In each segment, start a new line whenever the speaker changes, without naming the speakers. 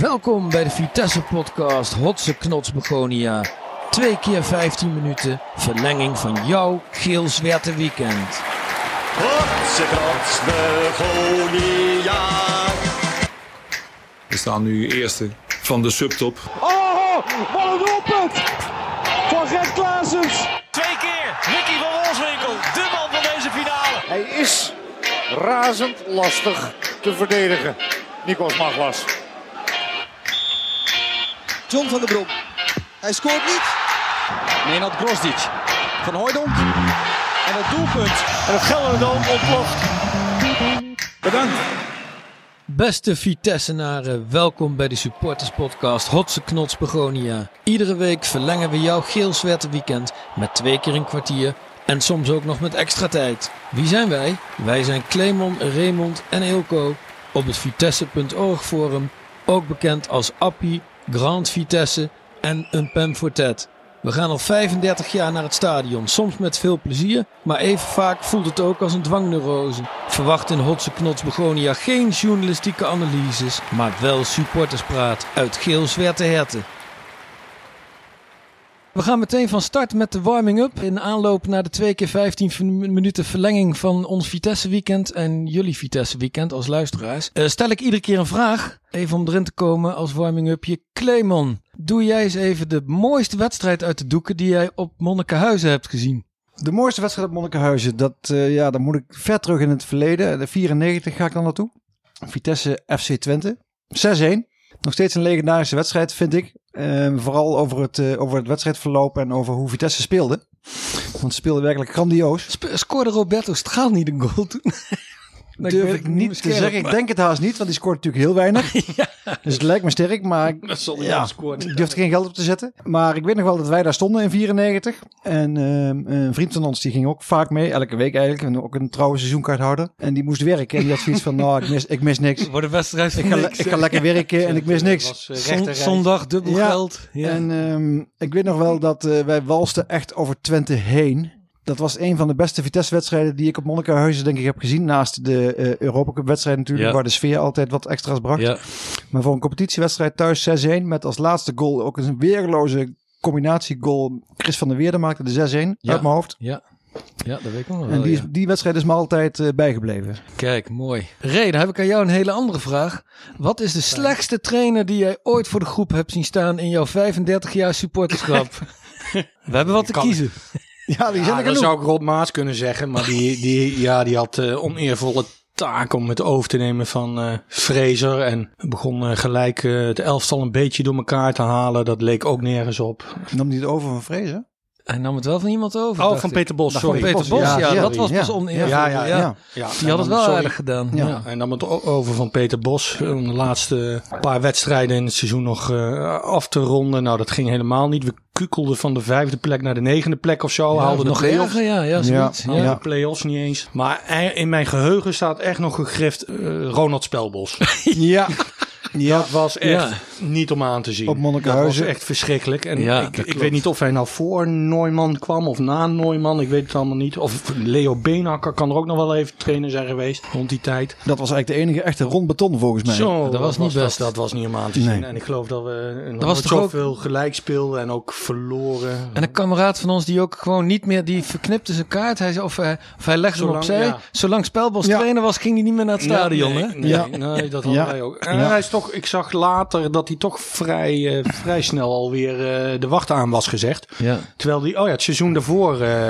Welkom bij de Vitesse Podcast Hotse Knots Begonia. Twee keer 15 minuten verlenging van jouw geel zwerte weekend.
Hotse knots Begonia.
We staan nu eerste van de subtop.
Oh, wat een doelpunt van Gert Klaasens.
Twee keer Ricky van Wolfswinkel, de man van deze finale.
Hij is razend lastig te verdedigen. Nikos Maglas.
John van der Brom. Hij scoort niet.
Nenad Grosdic van Hooydonk. En het doelpunt. En het Gelderdoom ontploft.
Beste Vitessenaren, welkom bij de Supporters Podcast Hotse Knots Begonia. Iedere week verlengen we jouw geel zwerte weekend met twee keer een kwartier en soms ook nog met extra tijd. Wie zijn wij? Wij zijn Clemon, Raymond en Ilko op het Vitesse.org forum, ook bekend als Appie, Grand Vitesse en een Pamfortet. We gaan al 35 jaar naar het stadion, soms met veel plezier, maar even vaak voelt het ook als een dwangneurose. Verwacht in Hotse Knots Begonia geen journalistieke analyses, maar wel supporterspraat uit geel zwarte herten. We gaan meteen van start met de warming-up in aanloop naar de 2 keer 15 v- minuten verlenging van ons Vitesse weekend en jullie Vitesse weekend als luisteraars. Eh, stel ik iedere keer een vraag, even om erin te komen als warming-upje. Clemon, doe jij eens even de mooiste wedstrijd uit de doeken die jij op Monnikenhuizen hebt gezien.
De mooiste wedstrijd op Monnikenhuizen, dat, eh, ja, dan moet ik ver terug in het verleden. De 94 ga ik dan naartoe. Vitesse FC Twente. 6-1. Nog steeds een legendarische wedstrijd, vind ik. Eh, vooral over het, eh, over het wedstrijdverloop en over hoe Vitesse speelde. Want ze speelden werkelijk grandioos.
Sp- scoorde Roberto Straal niet een goal toen? Nou,
Durf
weet
ik
het
niet te
misschien,
zeggen. Ik
maar-
denk het haast niet, want die scoort natuurlijk heel weinig. Dus het lijkt me sterk, maar ik- ja, ik durfde geen geld op te zetten. Maar ik weet nog wel dat wij daar stonden in 94. En ehm, een vriend van ons die ging ook vaak mee, elke week eigenlijk. En ook een trouwe seizoenkaarthouder. En die moest werken. En die had zoiets van, nou, ik mis, ik mis niks.
Wordt een wedstrijd
Ik
van
ga, le-
niks,
ik
hè?
ga lekker werken en ik mis niks.
Zon- zondag dubbel
Ja.
geld. Ja.
En ehm, ik weet nog wel dat eh, wij walsten echt over Twente heen. Dat was een van de beste Vitesse-wedstrijden die ik op Monnikenhuizen denk ik heb gezien. Naast de eh Europa Cup-wedstrijd natuurlijk,
Ja.
waar de sfeer altijd wat extra's bracht.
ja.
Maar voor een competitiewedstrijd thuis 6-1 met als laatste goal ook eens een weerloze combinatiegoal. Chris van der Weerden maakte de 6-1
Ja.
uit mijn hoofd.
Ja. ja, dat weet ik nog wel.
En die, is-
ja.
die wedstrijd is me altijd eh, bijgebleven.
Kijk, mooi. Ray, dan heb ik aan jou een hele andere vraag. Wat is de slechtste trainer die jij ooit voor de groep hebt zien staan in jouw 35 jaar supporterschap? We hebben wat te
Kan-
kiezen.
Ja, die zijn
Ja,
er
dat
genoeg.
Ah, zou ik Rob Maas kunnen zeggen, maar die, die, ja, die had eh oneervolle taak om het over te nemen van eh Fraser. En begon eh, gelijk eh, het elftal een beetje door elkaar te halen. Dat leek ook nergens op.
Nam die het over van Vrezen?
Hij nam het wel van iemand over.
Oh,
dacht
van
ik.
Peter Bos,
Nou, Van
sorry.
Peter Bos, ja, dat was
ja.
pas oneerlijk.
Ja, ja, ja. Ja,
Die had het wel
sorry.
aardig gedaan.
Ja.
Ja.
En dan het o- over van Peter Bos. Om de laatste paar wedstrijden in het seizoen nog eh, af te ronden. Nou, dat ging helemaal niet. We kukelden van de vijfde plek naar de negende plek of zo. haalden de
nog
play-offs.
erger, ja, ja, zoiets. Ja.
Ja.
De play-offs niet eens. Maar e- in mijn geheugen staat echt nog gegrift eh, Ronald Spelbos.
Ja, ja.
Dat was echt
Ja.
niet om aan te zien.
Op Monnikenhuizen.
Dat was echt verschrikkelijk. En
Ja, dat
ik, ik
klopt.
weet niet of hij nou voor Neumann kwam of na Neumann. Ik weet het allemaal niet. Of Leo Beenhakker kan er ook nog wel even trainer zijn geweest rond die tijd.
dat was eigenlijk de enige echte rond beton volgens mij.
Zo,
dat was niet
dat,
best.
Dat was niet om aan te zien.
Nee.
En ik geloof dat we nog
was
nooit
toch ook-
zoveel gelijk speelden en ook verloren.
En een kameraad van ons die ook gewoon niet meer, die verknipte zijn kaart. Hij zei, of, hij, of hij legde
Zolang-
hem opzij.
ja.
Zolang Spelbos
Ja.
trainer was, ging hij niet meer naar het stadion.
Nee,
hè?
Nee,
Ja.
nee, dat hadden
Ja.
wij ook.
Ja.
En hij is toch, ik zag later dat hij toch vrij, eh, vrij snel alweer eh, de wacht aan was gezegd.
Ja,
Terwijl die, oh ja, het seizoen daarvoor eh,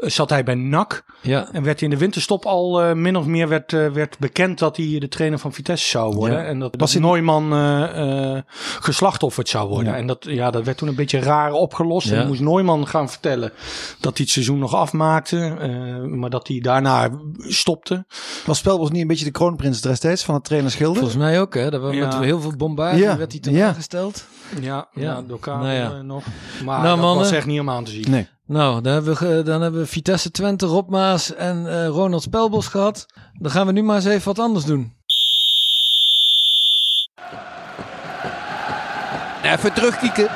zat hij bij NAC.
ja.
En werd in de winterstop al eh, min of meer werd, eh, werd bekend dat hij de trainer van Vitesse zou worden.
Ja.
En dat, dat Neumann eh, eh, geslachtofferd zou worden. En dat, ja, dat werd toen een beetje raar opgelost. En
Ja.
dan moest Neumann gaan vertellen dat hij het seizoen nog afmaakte. eh, maar dat hij daarna stopte.
Was Spelbos niet een beetje de kroonprins destijds van het trainerschilder?
Volgens mij ook, hè? Dat we
Ja.
met heel veel bombardie
Ja,
werd hij
ja.
teruggesteld.
Ja,
Ja.
ja, door Karel
Nou ja.
eh, nog. Maar
Nou,
dat
mannen.
was echt niet om aan te zien.
Nee.
Nou, dan hebben, we, ge- dan hebben we Vitesse Twente, Rob Maas en eh, Ronald Spelbos gehad. Dan gaan we nu maar eens even wat anders doen.
Even terugkieken.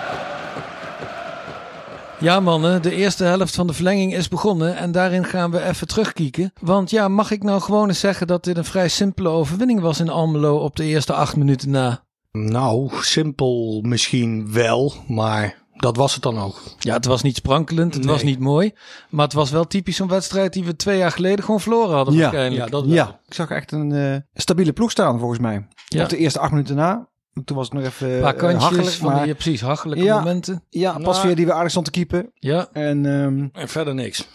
Ja mannen, de eerste helft van de verlenging is begonnen en daarin gaan we even terugkieken. Want ja, mag ik nou gewoon eens zeggen dat dit een vrij simpele overwinning was in Almelo op de eerste acht minuten na?
Nou, simpel misschien wel, maar dat was het dan ook.
Ja, het was niet sprankelend, het
Nee.
was niet mooi. Maar het was wel typisch zo'n wedstrijd die we twee jaar geleden gewoon verloren hadden
Ja,
waarschijnlijk.
Ja, dat wel.
Ja, ik zag echt een eh, stabiele ploeg staan volgens mij.
Ja.
Op de eerste acht minuten na. Toen was het nog even
Een paar
eh,
kantjes
hachelijk,
van
maar
die precies hachelijke
Ja.
momenten.
ja, pas weer die we aardig stond te keepen.
Ja,
En ehm,
En verder niks.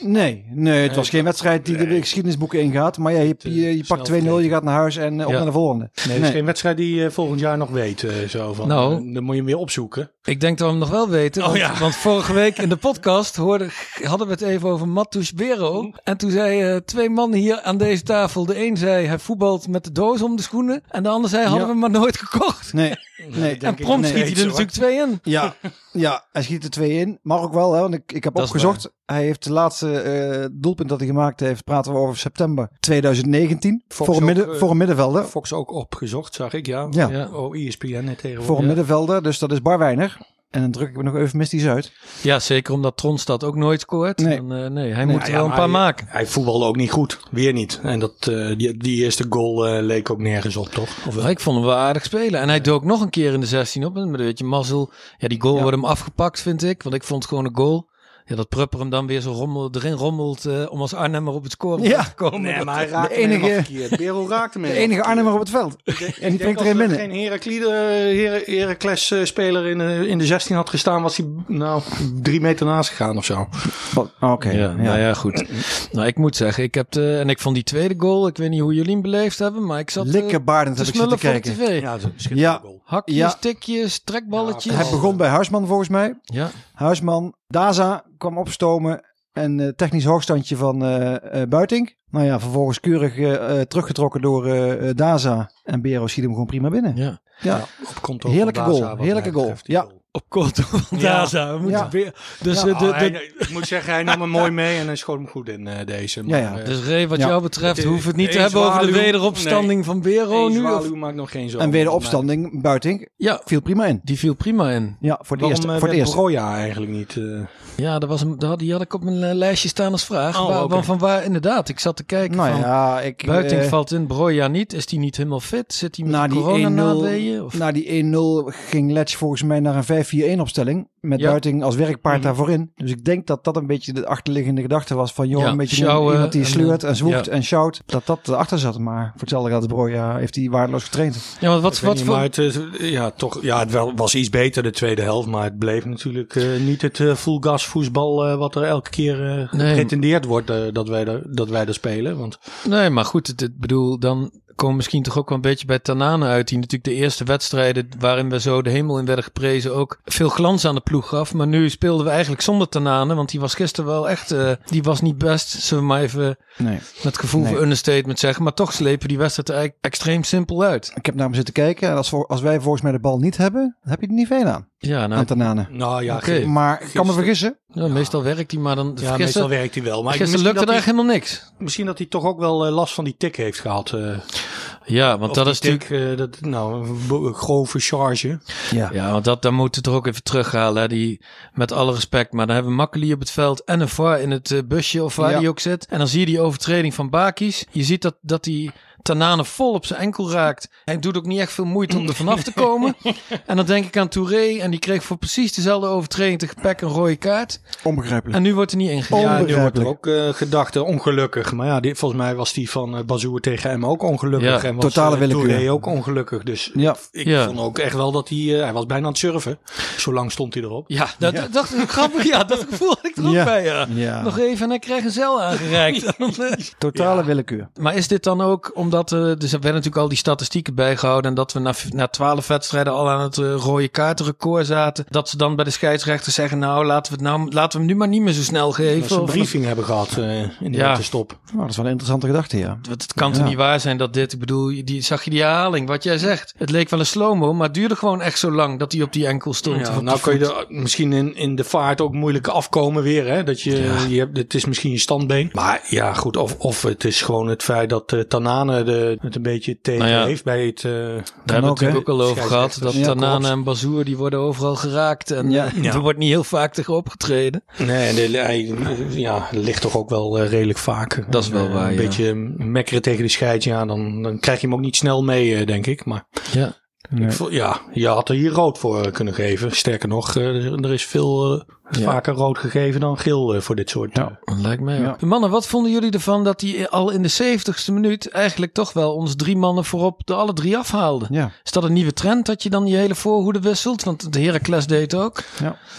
nee, nee, het was
Eh,
geen wedstrijd die de geschiedenisboeken ingaat. Maar ja, je, je, je
snel
pakt 2-0, je gaat naar huis en eh, op
Ja.
naar de volgende.
Nee, het is geen wedstrijd die je volgend jaar nog weet. eh, zo van,
Nou.
eh, dan moet je hem weer opzoeken.
ik denk dat we hem nog wel weten.
Oh,
want,
ja.
want vorige week in de podcast hoorde, hadden we het even over Matus Bero. En toen zei eh, twee mannen hier aan deze tafel. De een zei hij voetbalt met de doos om de schoenen. En de ander zei hadden
Ja.
we hem maar nooit gekocht.
Nee, nee.
En prompt
nee.
schiet hij er
hoor.
natuurlijk twee in.
Ja, ja, hij schiet er twee in. Mag ook wel, hè, want ik, ik heb
Dat is
opgezocht. Hij heeft het laatste eh, doelpunt dat hij gemaakt heeft, praten we over september 2019.
Fox
voor, een
ook,
midden,
eh,
voor een middenvelder.
Fox ook opgezocht, zag ik, ja.
Ja.
Ja.
Oh, ESPN hè, tegenwoordig.
voor een
Ja.
middenvelder, dus dat is bar weinig. En dan druk ik me nog eufemistisch uit.
Ja, zeker omdat Tronstad ook nooit scoort.
Nee.
En, eh, nee hij
Nee.
moet er
Ja,
wel een
maar
paar
hij-
maken.
Hij voetbalde ook niet goed. Weer niet. En dat, eh, die, die eerste goal eh, leek ook nergens op, toch? Of wel?
Maar ik vond hem wel aardig spelen. En hij dook nog een keer in de 16 op. Maar weet je, mazzel. Ja, die goal wordt hem afgepakt, vind ik. Want ik vond het gewoon een goal. Ja, dat Prupper hem dan weer zo rommel, erin rommelt eh, om als Arnhemmer op het scoren
Ja.
te komen.
Nee,
Dat-
maar hij raakte
de
hem
enige-
helemaal verkeerd. Berel raakte hem
De enige Arnhemmer op het veld. En die brengt erin binnen.
geen Heraklide, Heracles eh, speler in, eh, in de 16 had gestaan, was hij nou drie meter naast gegaan of zo.
Oké,
Ja,
ja.
nou ja, goed. Nou, ik moet zeggen, ik heb de, en ik vond die tweede goal, ik weet niet hoe jullie hem beleefd hebben, maar ik zat eh,
Likkerbarend
te
heb ik zitten
smullen voor de
kijken.
tv.
Ja,
Ja. goal.
goal.
Hakjes,
Ja.
tikjes, trekballetjes.
Hij begon bij Huisman volgens mij.
ja.
Huisman, Daza kwam opstomen. En eh, technisch hoogstandje van eh, eh, Buiting. Nou ja, vervolgens keurig eh, eh, teruggetrokken door eh, eh, Daza. En Bero schiet hem gewoon prima binnen.
ja.
Ja,
Op konto van
heerlijke
Daza,
goal.
wat mij
Heerlijke goal.
betreft, die
Ja,
goal.
Op konto van
Ja.
Daza. We moeten
Ja.
weer- Dus,
Ja.
eh, de,
Oh, hij-
de-
ik moet zeggen, hij nam hem mooi mee en hij schoot hem goed in eh, deze.
Ja, ja.
Maar, eh,
dus Ray, wat
Ja.
jou betreft,
Het-
hoeven we het niet te
één
hebben over de
zwaluw.
wederopstanding van Bero
één
nu. of-
zwaluw eh, maakt nog geen zorgen.
en weer de opstanding. Buiting
Ja,
viel prima in.
die viel prima in.
Ja, voor het
Waarom
eerst.
eh,
voor het
werd
eerst.
Broja eigenlijk niet? eh,
Ja, dat was een, dat had, die had ik op mijn eh, lijstje staan als vraag.
Oh,
Waar-
oké.
waar- Van waar, inderdaad, ik zat te kijken
Nou
van...
ja, ik...
Buiting
eh,
valt in, Broja niet. Is die niet helemaal fit? Zit hij met
Na
corona
die 1-0
nadeeën? Of...
na Nou, die 1-0 ging Letch volgens mij naar een 5-4-1 opstelling. Met
Ja. Mhm.
Buiting als werkpaard daarvoor in. Dus ik denk dat dat een beetje de achterliggende gedachte was. Van joh,
Ja,
een beetje
sjouwen
iemand die
en, eh,
sleurt en zwoegt
ja.
en sjouwt. Dat dat erachter zat. Maar voor hetzelfde geld is Broja heeft hij waardeloos getraind.
Ja, want wat,
ik weet
wat
niet,
voor...
maar het, eh, ja, toch, ja, het wel, was iets beter de tweede helft, maar het bleef natuurlijk eh, niet het eh full gas voetbal eh, wat er elke keer eh, gepretendeerd wordt eh, dat, wij er, dat wij er spelen. Want
Nee, maar goed, het, het- bedoel, dan komen we misschien toch ook wel een beetje bij Tanane uit. Die natuurlijk de eerste wedstrijden waarin we zo de hemel in werden geprezen ook veel glans aan de ploeg gaf. Maar nu speelden we eigenlijk zonder Tanane, want die was gisteren wel echt, eh, die was niet best. Zullen we maar even
Nee.
met gevoel
Nee.
voor understatement zeggen. Maar toch slepen die wedstrijd er eigenlijk extreem simpel uit.
Ik heb naar hem zitten kijken. En als, voor- als wij volgens mij de bal niet hebben, dan heb je er niet veel aan.
Ja, Eh, nou,
aan Tanane.
nou ja,
Oké.
Maar ik kan me
gisteren-
vergissen.
ja, meestal werkt die, maar dan
ja, meestal
gisteren,
werkt hij wel. Maar ik-
gisteren
misschien
lukte er
dat
echt helemaal niks.
hij- Misschien dat hij toch ook wel eh, last van die tik heeft gehad. eh,
Ja, want
of
dat
die
is natuurlijk...
tik, eh, dat, nou, een bo- grove charge.
Ja.
Ja, want dat, daar moeten we toch ook even terughalen. Hè? Die, met alle respect. Maar dan hebben we Makkeli op het veld en een VAR in het eh, busje of waar
Ja.
die ook zit. En dan zie je die overtreding van Bakis. Je ziet dat, dat die Tanane vol op zijn enkel raakt. Hij doet ook niet echt veel moeite om er vanaf te komen. en dan denk ik aan Touré. En die kreeg voor precies dezelfde overtreding te gepek een rode kaart.
Onbegrijpelijk.
En nu wordt er niet
Oh.
ingegaan.
Ja, nu wordt er
Onbegrijpelijk.
ook eh gedachten ongelukkig. Maar ja, dit, volgens mij was die van eh Bazoer tegen hem ook ongelukkig.
Ja,
en was
totale
eh,
willekeur.
Touré ook ongelukkig. Dus
Ja.
ik
Ja.
vond ook echt wel dat hij... eh, hij was bijna aan het surfen. Zo lang stond hij erop.
Ja, dat, dat, dat- grappig. Ja, dat gevoel had ik er ook
Ja.
bij. Ja.
Ja.
Nog even en hij krijgt een zeil aangereikt. eh,
Totale willekeur.
Maar is dit dan ook omdat eh, dus er werden natuurlijk al die statistieken bijgehouden en dat we na, na 12 wedstrijden al aan het eh, rode kaartenrecord zaten, dat ze dan bij de scheidsrechter zeggen: nou laten we het nou laten we hem nu maar niet meer zo snel
Dat ze
geven.
een
Of-
briefing hebben gehad eh, in de
Ja.
stop.
Nou, dat is wel een interessante gedachte, ja.
Want het kan toch
Ja.
niet waar zijn dat dit, ik bedoel, die, zag je die herhaling, wat jij zegt. Het leek wel een slow-mo, maar het duurde gewoon echt zo lang dat hij op die enkel stond. of op
nou
die
kun je
voet.
er misschien in, in de vaart ook moeilijk afkomen weer. Hè? Dat je, je hebt, het is misschien je standbeen. Maar ja, goed. Of, of het is gewoon het feit dat eh, Tanane de, het een beetje tegen
Nou ja.
heeft bij het... eh,
Daar hebben we
ook, hè?
natuurlijk ook al over gehad. Dat
Scheidsrechters.
Tanana
Ja, klopt.
en Bazoer, die worden overal geraakt. En
Ja.
eh, er wordt niet heel vaak tegen opgetreden.
Nee, en de- hij ja, ligt toch ook wel eh, redelijk vaak.
Dat is wel
Eh,
waar,
Een
ja.
beetje mekkeren tegen de scheid, ja, dan, dan krijg je hem ook niet snel mee, eh, denk ik. Maar
Ja.
Ik vo- ja, je had er hier rood voor eh, kunnen geven. Sterker nog, eh, er er is veel eh, vaker rood gegeven dan geel eh, voor dit soort. eh,
Dat Lijkt mij wel. Mannen, wat vonden jullie ervan dat hij al in de 70ste minuut eigenlijk toch wel ons drie mannen voorop de alle drie afhaalde?
Ja.
Is dat een nieuwe trend dat je dan je hele voorhoede wisselt? Want de Heracles deed het ook.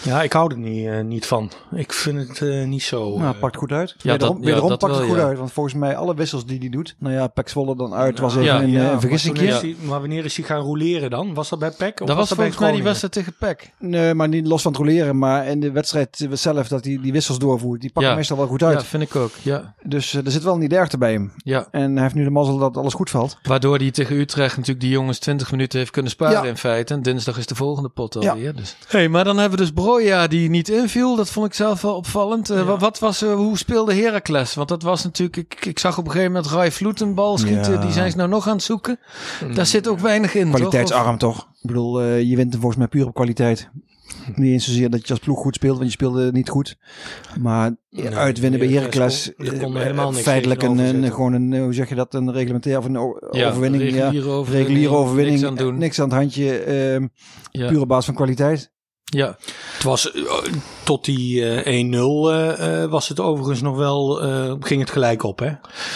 Ja, ik hou er niet, eh, niet van. Ik vind het eh, niet zo.
Nou,
eh,
pakt goed uit.
ja,
wederom
dat- ja,
wederom
dat
pakt het
wel,
goed
ja.
uit. Want volgens mij alle wissels die hij doet. Nou ja, Pek Zwolle dan uit was even
ja,
een,
ja,
eh, een
maar toen is
vergissingje.
hij- Maar wanneer is hij gaan roleren dan? Was dat bij PEC? of
Dat was
dat bij
volgens mij die
Groningen?
wedstrijd tegen Peck.
Nee, maar niet los van het roleren. Maar in de wedstrijd zelf dat hij die wissels doorvoert. Die pakken
Ja.
meestal wel goed
Ja,
uit.
vind ik ook. Ja,
Dus eh, er zit wel een idee achter bij hem.
ja.
En hij heeft nu de mazzel dat alles goed valt.
Waardoor hij tegen Utrecht natuurlijk die jongens 20 minuten heeft kunnen sparen
Ja.
in feite. En dinsdag is de volgende pot alweer. Dus. hey, maar dan hebben we dus Broja die niet inviel. Dat vond ik zelf wel opvallend. Eh, wa- wat, was, eh, hoe speelde Heracles? Want dat was natuurlijk... Ik, ik zag op een gegeven moment Rai Vloed een bal schieten.
Ja.
Die zijn ze nou nog aan het zoeken. Daar zit ook weinig in, toch?
Kwaliteitsarm toch? Ik bedoel, eh, je wint hem volgens mij puur op kwaliteit. Niet eens zozeer dat je als ploeg goed speelt, want je speelde niet goed. Maar eh, uitwinnen bij Heracles,
Heracles kon- er kon
eh,
helemaal niks
feitelijk een,
tegenover
een-
zetten.
gewoon een, eh, hoe zeg je dat, een reglementair of een o-
Ja,
overwinning. ja.
reguliere overwinning, eh,
reguliere overwinning.
niks aan doen.
Niks aan het handje, ehm,
Ja.
puur op basis van kwaliteit.
Ja,
Het was eh, tot die eh, 1-0 eh, eh, was het overigens nog wel, eh, ging het gelijk op, hè?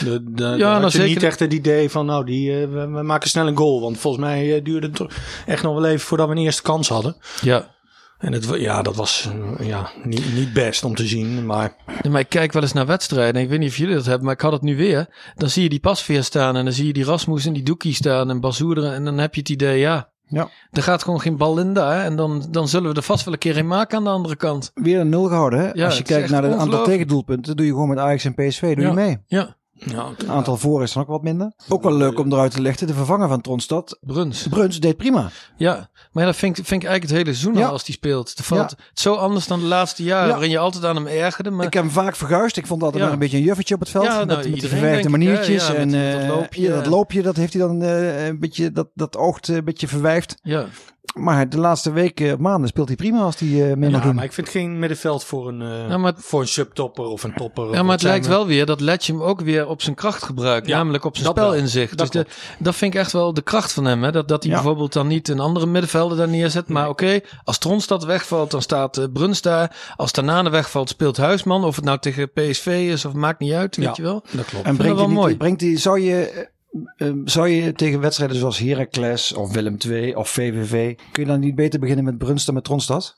De, de, ja,
nou,
had je
zeker.
niet echt het idee van, nou, die, eh, we, we maken snel een goal. Want volgens mij eh, duurde het toch echt nog wel even voordat we een eerste kans hadden.
ja.
En het, wa- ja, dat was eh, ja, niet, niet best om te zien, maar
Nee, maar ik kijk wel eens naar wedstrijden. Ik weet niet of jullie dat hebben, maar ik had het nu weer. Dan zie je die pasveer staan en dan zie je die Rasmus en die Doekie staan en Bazoerderen. En dan heb je het idee, ja,
Ja.
er gaat gewoon geen bal in daar. En dan, dan zullen we er vast wel een keer in maken aan de andere kant.
Weer een nul gehouden. Hè?
Ja,
Als
het
je
is
kijkt
echt
naar het aantal
ongelooflijk.
tegendoelpunten, doe je gewoon met Ajax en PSV, doe
Ja.
je mee.
Ja,
ja,
Het aantal voor is dan ook wat minder. Ook wel leuk om eruit te lichten, de vervanger van Tronstad,
Bruns.
Bruns, deed prima.
Ja, maar ja, dat vind ik, vind ik eigenlijk het hele seizoen
Ja.
al als die speelt. Het valt het zo anders dan de laatste jaren
Ja.
waarin je altijd aan hem ergerde. Maar
Ik heb hem vaak verguisd. Ik vond altijd
Ja.
maar een beetje een juffertje op het veld.
Ja, nou,
met, met die
iedereen,
verwerkte
denk ik, hè.
maniertjes.
Ja, met
en
die- dat
eh,
loopje.
ja, dat loopje, dat heeft hij dan eh, een beetje, dat, dat oogt eh, een beetje verwijfd.
ja,
Maar hij- de laatste weken, eh, maanden, speelt hij prima als hij eh mee mag
ja,
doen.
maar ik vind geen middenveld voor een, eh,
Ja, maar het-
voor een subtopper of een topper. of
ja, maar
wat
het
zijn
lijkt
we.
wel weer dat Letje hem ook weer op zijn kracht gebruikt.
Ja,
namelijk op zijn
dat wel.
spelinzicht.
Dat
dus de, dat vind ik echt wel de kracht van hem. Hè? Dat, dat hij
Ja.
bijvoorbeeld dan niet een andere middenvelder daar neerzet. Maar oké, als Tronstad wegvalt, dan staat eh, Bruns daar. Als Tanane wegvalt, speelt Huisman. Of het nou tegen PSV is of maakt niet uit, weet
Ja.
je wel.
Dat klopt.
en
vind
brengt
dat
hij,
wel mooi.
niet, brengt hij, zou je... eh, eh, zou je tegen wedstrijden zoals Heracles of Willem II of VVV... kun je dan niet beter beginnen met Bruns dan met Tronstad?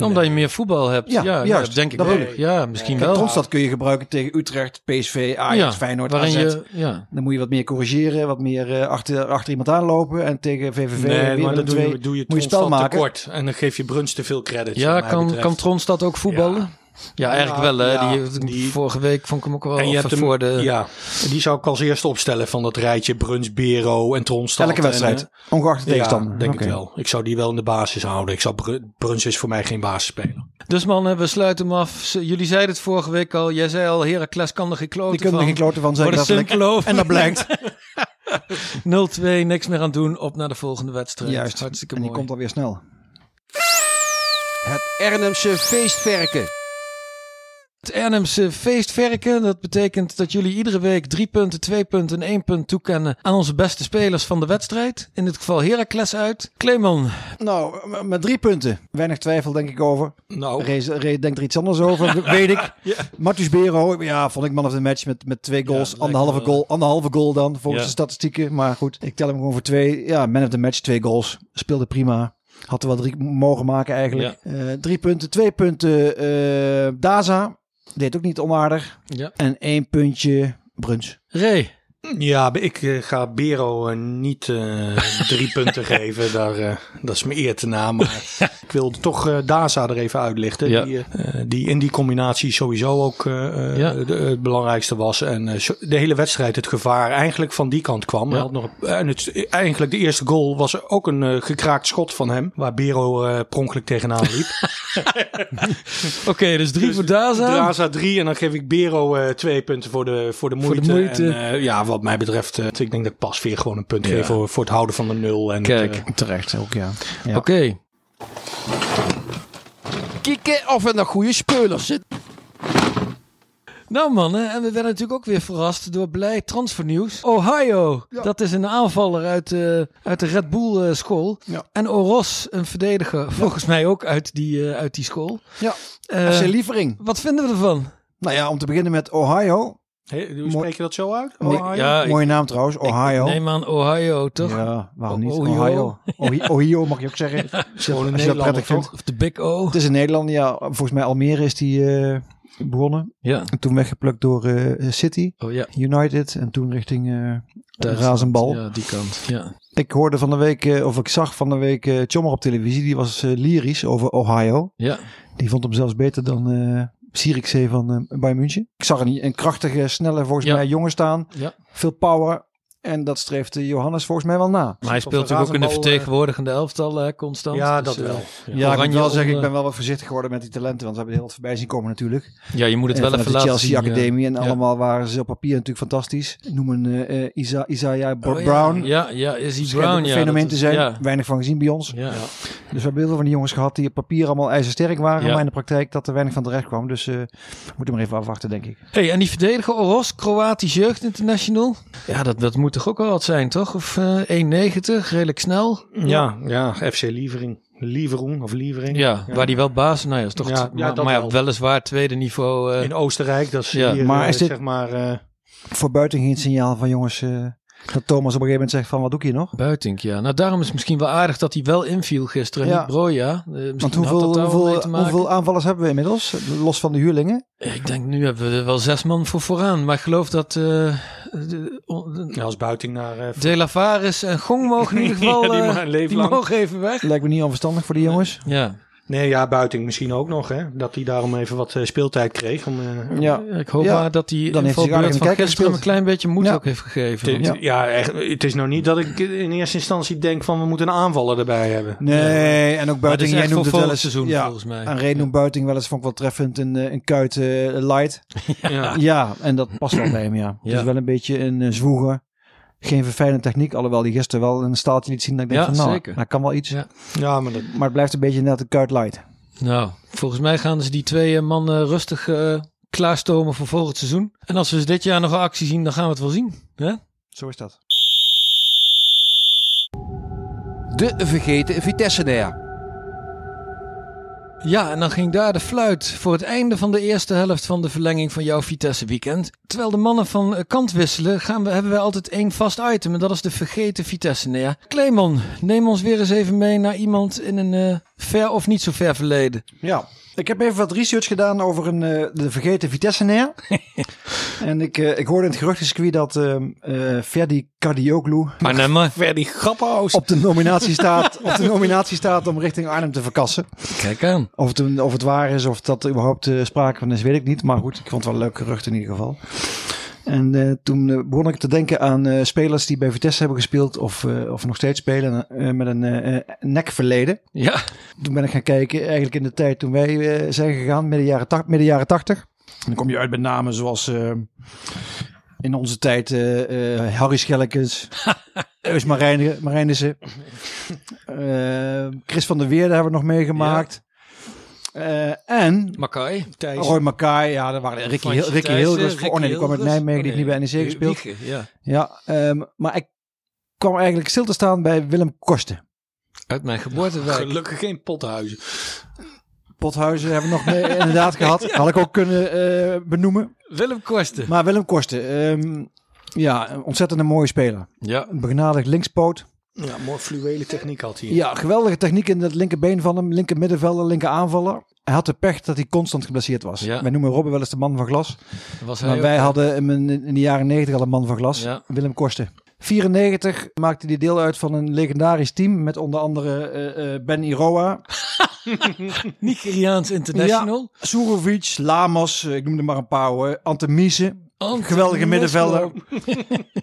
Omdat je meer voetbal hebt. Ja,
Ja,
ja,
juist.
denk ik
Dat
wel.
bedoel ik.
Ja, misschien
Kijk,
wel.
Tronstad kun je gebruiken tegen Utrecht, PSV, Ajax,
ja,
Feyenoord,
waarin
AZ.
je, ja.
Dan moet je wat meer corrigeren, wat meer eh, achter, achter iemand aanlopen. En tegen VVV
Nee,
weer
maar
een
dan doe
twee,
je, doe je
moet je spel maken.
tekort. En dan geef je Bruns te veel credit.
ja
wat mij
kan,
betreft.
kan Tronstad ook voetballen? Ja, eigenlijk
Ja,
wel. Hè?
ja,
die,
die-
vorige week vond ik hem ook wel
En
of
je hebt hem,
voor de...
ja, die zou ik als eerste opstellen van dat rijtje Bruns, Bero en Tronstad.
Elke wedstrijd,
En, eh,
ongeacht de tegenstander.
ja, denk
Oké.
ik wel. Ik zou die wel in de basis houden. Ik zou Bru- Bruns is voor mij geen basisspeler.
Dus mannen, we sluiten hem af. Z- Jullie zeiden het vorige week al. Jij zei al, Heracles kan er geen kloten
Die kunnen er
van.
geen kloten van zeggen.
Voor de
Dat is
simpele
lekker. En dat blijkt.
0-2, niks meer aan doen. Op naar de volgende wedstrijd.
Juist.
Hartstikke
en die
mooi.
komt alweer snel.
Het Ernemse feestverken.
Het Ernemse feestverken. Dat betekent dat jullie iedere week drie punten, twee punten en één punt toekennen aan onze beste spelers van de wedstrijd. In dit geval Heracles uit. Clemon,
Nou, m- met drie punten. Weinig twijfel denk ik over.
Nou,
Rees Rees denkt er iets anders over, w- weet ik.
Ja.
Martins Bero, ja, vond ik man of the match met, met twee goals.
lijkt
anderhalve,
eh.
me wel.
goal, anderhalve goal dan, volgens
Ja.
de statistieken. Maar goed, ik tel hem gewoon voor twee. Ja, man of the match, twee goals. Speelde prima. Had er wel drie mogen maken eigenlijk. Eh, drie punten, twee punten. eh, Daza, deed ook niet onaardig.
Ja.
En één puntje Bruns.
Ray.
ja, ik eh, ga Bero eh, niet eh, drie punten geven. Daar, eh, dat is mijn eer te na. Maar ik wil toch eh, Daza er even uitlichten.
Ja.
Die, eh, eh, die in die combinatie sowieso ook eh, eh,
Ja.
de- het belangrijkste was. En eh, zo- de hele wedstrijd het gevaar eigenlijk van die kant kwam. Hij had nog, en het, eh, eigenlijk de eerste goal was ook een eh, gekraakt schot van hem. Waar Bero eh pronkelijk tegenaan liep.
Oké, dus drie voor Daza.
Daza 3 en dan geef ik Bero eh, twee punten voor de, voor de
de
moeite.
moeite.
En, eh, ja, wat mij betreft, eh, ik denk dat ik pas weer gewoon een punt geef voor, voor het houden van de nul. En
Kijk.
het, eh,
Terecht ook, ja.
Oké.
Kikken of er nog goede speulers zitten.
Nou mannen, en we werden natuurlijk ook weer verrast door blij transfernieuws. Ohio, dat is een aanvaller uit, eh, uit de Red Bull eh, school.
Ja.
En Oros, een verdediger, volgens mij ook uit die, eh, uit die school.
Ja.
Eh,
FC Lievering.
wat vinden we ervan?
Nou ja, om te beginnen met Ohio.
Hey, hoe
Mooi.
spreek je dat zo uit?
Nee,
Ohio?
Ja,
Mooie naam trouwens, Ohio.
neem aan Ohio, toch?
Oh. Ja, waarom niet?
Ohio.
Ohio. Ohi- Ohio mag je ook zeggen. Als je, als je dat prettig vindt.
Of de Big O.
Het is in Nederland, ja. Volgens mij Almere is die eh, begonnen.
Ja.
En toen weggeplukt door eh, City
Oh ja,
United. En toen richting eh
daar
Razenbal.
Ja, die kant. Ja.
Ik hoorde van de week, eh, of ik zag van de week eh Chommer op televisie. Die was eh, lyrisch over Ohio.
Ja.
Die vond hem zelfs beter dan eh Zierikzee van eh Bayern München. Ik zag een, een krachtige, snelle, volgens
Ja.
mij jongen staan.
Ja.
Veel power. En dat streeft eh, Johannes volgens mij wel na.
Maar hij
Of
speelt natuurlijk ook in de
Razenbal, eh,
vertegenwoordigende elftal eh, constant.
Ja,
Dus,
dat
eh,
wel.
Ja, ik moet
Oranje eh,
wel zeggen, ik
onder-
ben wel wat voorzichtig geworden met die talenten. Want we hebben heel wat voorbij zien komen natuurlijk.
Ja, je moet het
Eh,
wel
vanuit
even
de
laten
Chelsea
zien. ja.
Academie. En
Ja.
allemaal waren ze op papier natuurlijk fantastisch. Ik Noem een eh, eh, Isa, Isaiah Bo-
Oh, ja.
Brown.
Ja, ja, is hij
Schijnt ook
Brown.
een
ja,
fenomeen
dat
te
is-
zijn.
Ja.
Weinig van gezien bij ons.
Ja.
Dus we hebben heel veel van die jongens gehad die op papier allemaal ijzersterk waren.
Ja.
Maar in de praktijk dat er weinig van terecht kwam. Dus eh we moeten maar even afwachten, denk ik.
Hey, en die verdediger Oros, Kroatisch Jeugd International. Ja, dat, dat moet toch ook wel wat zijn, toch? Of eh 1,90, redelijk snel.
Ja, ja, FC Lievering. Lieveroen of Lievering.
Ja, waar die wel baas, nou ja, is toch.
Ja, ja,
maar
dat
maar ja,
wel.
weliswaar tweede niveau. eh,
In Oostenrijk, dat is
Ja.
hier,
Maar
eh,
is dit-
zeg maar... eh,
Voor buiten geen signaal van jongens eh, dat Thomas op een gegeven moment zegt van wat doe ik hier nog?
Buitink, ja. Nou, daarom is het misschien wel aardig dat hij wel inviel gisteren. en
Ja.
Niet Broja. Eh, misschien
Want
had dat
hoeveel,
daar wel mee
hoeveel,
te maken.
hoeveel aanvallers hebben we inmiddels? Los van de huurlingen.
Ik denk, nu hebben we er wel zes man voor vooraan. Maar ik geloof dat eh de, on- de-
ja, als buiting naar... eh,
De La Vares en Gong mogen in ieder geval...
Ja, die
eh,
maar een leven
die
lang.
mogen even weg.
Lijkt me niet onverstandig voor die jongens.
Ja,
nee, ja, buiting misschien ook nog, hè. Dat hij daarom even wat eh, speeltijd kreeg. Om, eh,
Ja.
ik hoop
Ja,
maar dat die
dan heeft hij zich aardig
invalbeurt
in de
van
kijker
gisteren
gespeeld.
een klein beetje moed
Ja.
ook heeft gegeven.
Het,
Ja.
ja, echt, het is nou niet dat ik in eerste instantie denk van we moeten een aanvaller erbij hebben.
Nee, en ook
Maar het
buiten.
is
Jij
echt voor
noemt het wel
volgend
eens
seizoen
ja,
volgens mij.
En Ray noemt buiten wel eens, vond ik wel treffend, een, eh, een kuit eh, light.
Ja.
Ja, en dat past wel bij hem, ja. Het
Ah. Ja.
is wel een beetje een eh, zwoeger. Geen verfijnde techniek, alhoewel die gisteren wel een staaltje liet zien. Dat ik denk
Ja,
van, nou,
zeker.
hij kan wel iets.
Ja.
ja, maar dat,
Maar het blijft een beetje net een kuit light.
Nou, volgens mij gaan ze die twee eh, mannen rustig eh, klaarstomen voor volgend seizoen. En als we ze dit jaar nog een actie zien, dan gaan we het wel zien. Hè?
Zo is dat.
De vergeten Vitesse-nair.
Ja, en dan ging daar de fluit voor het einde van de eerste helft van de verlenging van jouw Vitesse weekend. Terwijl de mannen van eh, kant wisselen, gaan we, hebben wij altijd één vast item en dat is de vergeten Vitesse. Nou ja, Clemon, neem ons weer eens even mee naar iemand in een eh, ver of niet zo ver verleden.
Ja, ik heb even wat research gedaan over een, eh, de vergeten Vitesse neer. en ik, eh, ik hoorde in het geruchtencircuit dat ehm eh Ferdi Cardioglu
Maar nee, maar.
Verdi Grappenhuis.
op de, nominatie staat, op de nominatie staat om richting Arnhem te verkassen.
Kijk aan.
Of het, een- of het waar is, of dat er überhaupt eh, sprake van is, weet ik niet. Maar goed, ik vond het wel een leuk gerucht in ieder geval. En eh, toen eh, begon ik te denken aan eh, spelers die bij Vitesse hebben gespeeld of, eh, of nog steeds spelen eh, met een eh, eh, nekverleden.
Ja,
Toen ben ik gaan kijken, eigenlijk in de tijd toen wij eh, zijn gegaan, midden jaren, tacht- midden jaren 80. En dan kom je uit met namen zoals eh, in onze tijd eh, eh, Harry Schellekens, Eus Marijne- Marijnissen, eh, Chris van der Weerde hebben we nog meegemaakt. Eh, en
Makai. Thijs.
Roy Makai, ja, daar waren Eh, Ricky, Heel- Ricky Hilgers. voor- Oh nee, die kwam uit Nijmegen, die heeft niet bij NEC gespeeld.
Ja,
Ja, ehm, maar ik kwam eigenlijk stil te staan bij Willem Kosten.
uit mijn geboortewijk.
Gelukkig geen pothuizen.
Pothuizen hebben we nog mee, inderdaad gehad. Had ik ook kunnen eh, benoemen.
Willem Korsten.
Maar Willem Kosten, ehm, ja, een ontzettend een mooie speler.
Ja.
Een begnadigd linkspoot.
Ja, mooi fluwele techniek had hij.
Ja, geweldige techniek in het linkerbeen van hem. Linker middenvelder, linker aanvaller. Hij had de pech dat hij constant geblesseerd was.
Ja.
Wij noemen Robben wel eens de man van glas.
Was hij
Maar
ook-
wij hadden hem in, in de jaren 90 al een man van glas.
Ja.
Willem Kosten. 94 maakte hij deel uit van een legendarisch team met onder andere eh, eh, Ben Iroa,
Nigeriaans International.
Surovic, Lamos, eh, ik noemde maar een paar hoor, Antemise,
Ant-
geweldige middenvelder.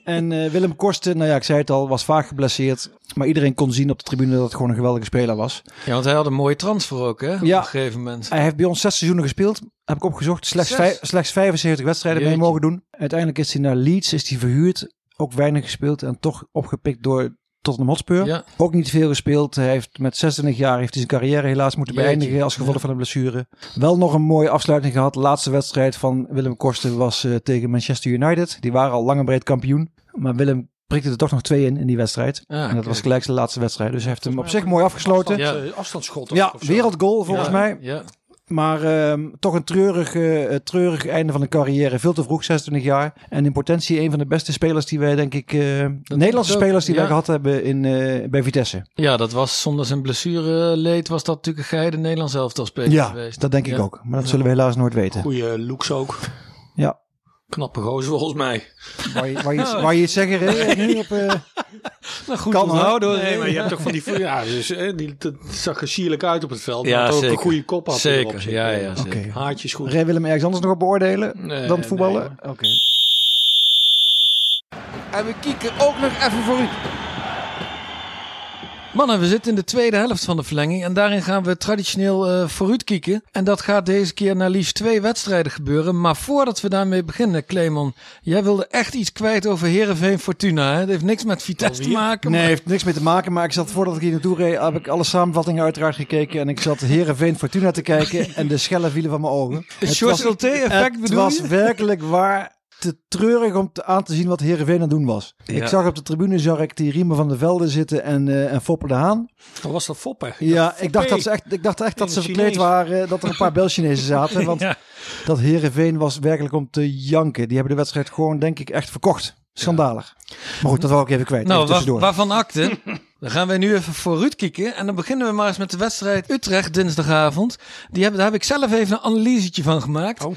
en eh, Willem Kosten, nou ja, ik zei het al, was vaak geblesseerd. Maar iedereen kon zien op de tribune dat het gewoon een geweldige speler was.
Ja, want hij had een mooie transfer ook, hè?
Ja.
Op een gegeven moment.
Hij heeft bij ons zes seizoenen gespeeld. Heb ik opgezocht. Slechts,
Zes?
vijf- slechts 75 wedstrijden mee
Jeetje.
mogen doen. Uiteindelijk is hij naar Leeds is hij verhuurd. Ook weinig gespeeld en toch opgepikt door Tottenham Hotspur.
Ja.
Ook niet veel gespeeld. Hij heeft met 26 jaar heeft hij zijn carrière helaas moeten
Jeetje.
beëindigen als gevolg van een blessure. Wel nog een mooie afsluiting gehad. Laatste wedstrijd van Willem Korsten was eh, tegen Manchester United. Die waren al lang en breed kampioen. Maar Willem prikte er toch nog twee in in die wedstrijd.
Ah,
en dat
kijk.
was gelijk zijn laatste wedstrijd. Dus hij heeft hem op zich mooi afgesloten. Ja,
Ja.
Eh, afstandsschot.
wereldgoal volgens
Ja,
mij.
Ja.
Maar ehm, toch een treurig, eh, treurig einde van een carrière. Veel te vroeg, 26 jaar. En in potentie een van de beste spelers die wij, denk ik, eh, Nederlandse
ook,
spelers die
ja.
wij gehad hebben in, eh, bij Vitesse.
ja, dat was zonder zijn blessureleed was dat natuurlijk een geheide Nederlands elftal speler
Ja,
geweest.
dat denk ik
Ja.
ook. Maar dat zullen we helaas nooit weten.
Goeie looks ook.
Ja.
Knappe gozer volgens mij.
Waar je, waar je, iets- waar je iets zeggen eh, nu op... eh,
Nou, goed
Kan, hoor.
onthouden. hoor.
Nee, maar je hebt toch van die... Ja, dus, hè, die dat zag er sierlijk uit op het veld.
Ja,
maar had ook
zeker.
een goede kop had hij erop
Zeker,
zitten.
ja, ja.
Oké.
zeker.
Haartjes goed.
Rij Willem ergens anders nog op beoordelen
Nee,
dan voetballen?
nee,
Oké.
En we kieken ook nog even vooruit.
Mannen, we zitten in de tweede helft van de verlenging en daarin gaan we traditioneel eh vooruit kieken. En dat gaat deze keer naar liefst twee wedstrijden gebeuren. Maar voordat we daarmee beginnen, Clemon, jij wilde echt iets kwijt over Herenveen Fortuna. Hè? Dat heeft niks met Vitesse te maken.
Nee,
maar-
heeft niks mee te maken. Maar ik zat voordat ik hier naartoe reed, heb ik alle samenvattingen uiteraard gekeken. En ik zat Herenveen Fortuna te kijken. En de schellen vielen van mijn ogen.
Het George
was-
Ulte-effect
Het
bedoel
was
je?
werkelijk waar te treurig om te, aan te zien wat Herenveen aan het doen was. Ik zag op de tribune zag ik die Riemen van de Velde zitten en, eh en Foppe de Haan.
Dan was dat foppen.
Ja, ik dacht
Foppe.
dat ze echt, ik dacht echt dat
In
ze
het
verkleed
Chinees.
waren, eh, dat er een paar Bel-Chinezen zaten. Want dat Herenveen was werkelijk om te janken. Die hebben de wedstrijd gewoon, denk ik, echt verkocht. Schandalig. Maar goed, dat wou ik even kwijt.
Nou,
even
waar,
tussendoor.
waarvan akte? Dan gaan we nu even vooruit kieken. En dan beginnen we maar eens met de wedstrijd Utrecht dinsdagavond. Die heb, daar heb ik zelf even een analysetje van gemaakt.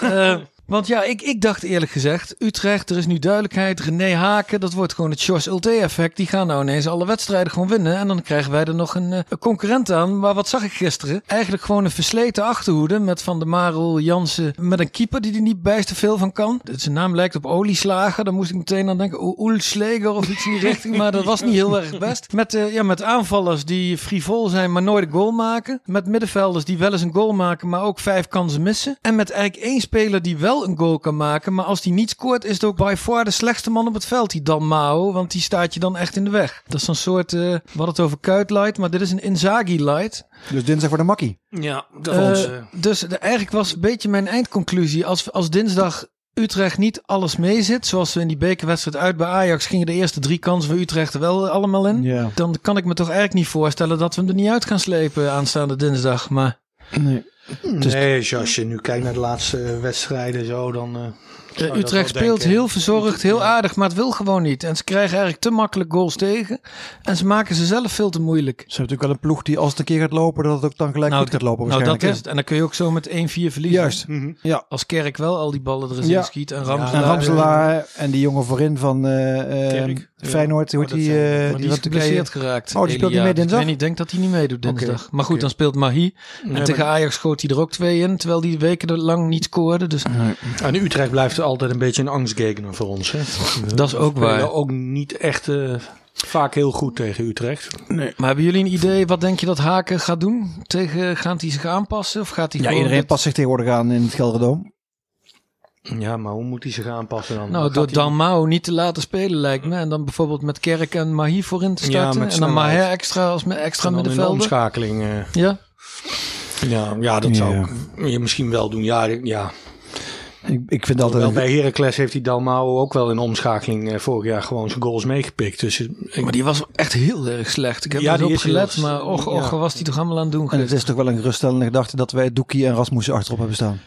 Eh, want ja, ik, ik dacht eerlijk gezegd, Utrecht, er is nu duidelijkheid. René Haken, dat wordt gewoon het George Ulte effect. Die gaan nou ineens alle wedstrijden gewoon winnen. En dan krijgen wij er nog een, eh, een concurrent aan. Maar wat zag ik gisteren? Eigenlijk gewoon een versleten achterhoede met Van der Marel, Jansen. Met een keeper die er niet bijster veel van kan. Zijn naam lijkt op olieslager. Daar moest ik meteen aan denken. O- Oelsleger of iets in die richting. Maar dat was niet heel erg best. Met, eh, ja, met aanvallers die frivol zijn, maar nooit een goal maken. Met middenvelders die wel eens een goal maken, maar ook vijf kansen missen. En met eigenlijk één speler die wel een goal kan maken. Maar als die niet scoort, is het ook by far de slechtste man op het veld. Die Dan Mao, want die staat je dan echt in de weg. Dat is zo'n soort, eh we hadden het over Kuit light, maar dit is een Inzaghi light.
Dus dinsdag voor de makkie.
Ja, dat
Eh,
was... eh,
dus de- eigenlijk was een beetje mijn eindconclusie. Als, als dinsdag Utrecht niet alles mee zit, zoals we in die bekerwedstrijd uit bij Ajax gingen de eerste drie kansen voor Utrecht er wel eh, allemaal in.
Ja.
Dan kan ik me toch eigenlijk niet voorstellen dat we hem er niet uit gaan slepen aanstaande dinsdag. Maar eh,
nee, als je- als je nu kijkt naar de laatste eh, wedstrijden zo, dan... eh,
eh,
zou je dat
Utrecht
wel
speelt
denken.
heel verzorgd, heel aardig, maar het wil gewoon niet. En ze krijgen eigenlijk te makkelijk goals tegen. En ze maken ze zelf veel te moeilijk.
Ze hebben natuurlijk wel een ploeg die als het een keer gaat lopen, dat het ook dan gelijk goed gaat lopen
nou
waarschijnlijk.
dat is
hè?
het. En dan kun je ook zo met 1-4 verliezen.
Juist. Ja.
Als Kerk wel al die ballen er eens
Ja.
in schiet en eh, Ramselaar.
En Ramselaar en die jongen voorin van eh, eh,
Kerk.
Feyenoord, hoe heet
dat
die,
zijn-
eh,
Maar
die,
die is
wat
geblesseerd geraakt.
Oh, die speelt niet
Elia.
mee
Dus
dinsdag?
Ik weet niet, ik denk dat hij niet meedoet dinsdag.
Oké,
Maar goed,
oké.
dan speelt Mahi. En tegen Ajax goot hij er ook twee in, terwijl die weken lang niet scoorde. Dus
En Utrecht blijft altijd een beetje een angstgegner voor ons. Hè?
dat is ook
We spelen
waar.
ook niet echt eh, vaak heel goed tegen Utrecht.
Maar hebben jullie een idee, wat denk je dat Haken gaat doen? Tegen, gaat hij zich aanpassen? Of gaat hij
Ja,
gewoon
iedereen
met-
past zich tegenwoordig aan in het Gelderdoom.
Ja, maar hoe moet hij zich aanpassen dan?
Nou,
Gaat
door
hij-
Dalmau niet te laten spelen lijkt me. En dan bijvoorbeeld met Kerk en Mahi voorin te
Ja,
starten.
met
en dan
snelheid.
Maher extra als met extra
dan in de
middenvelder.
omschakeling. eh,
Ja,
ja, ja, dat zou
Ja.
ik- je misschien wel doen. Ja, ik- ja.
Ik, ik vind altijd...
Wel, bij Heracles heeft die Dalmau ook wel in de omschakeling eh, vorig jaar gewoon zijn goals meegepikt. Dus eh, ik-
maar die was echt heel erg slecht. Ik heb
Ja,
er niet
die
op
is heel
gelet,
slecht.
maar och, och,
Ja.
was hij toch allemaal aan het doen
en
geweest.
het is toch wel een geruststellende gedachte dat wij Doekie en Rasmussen achterop hebben staan.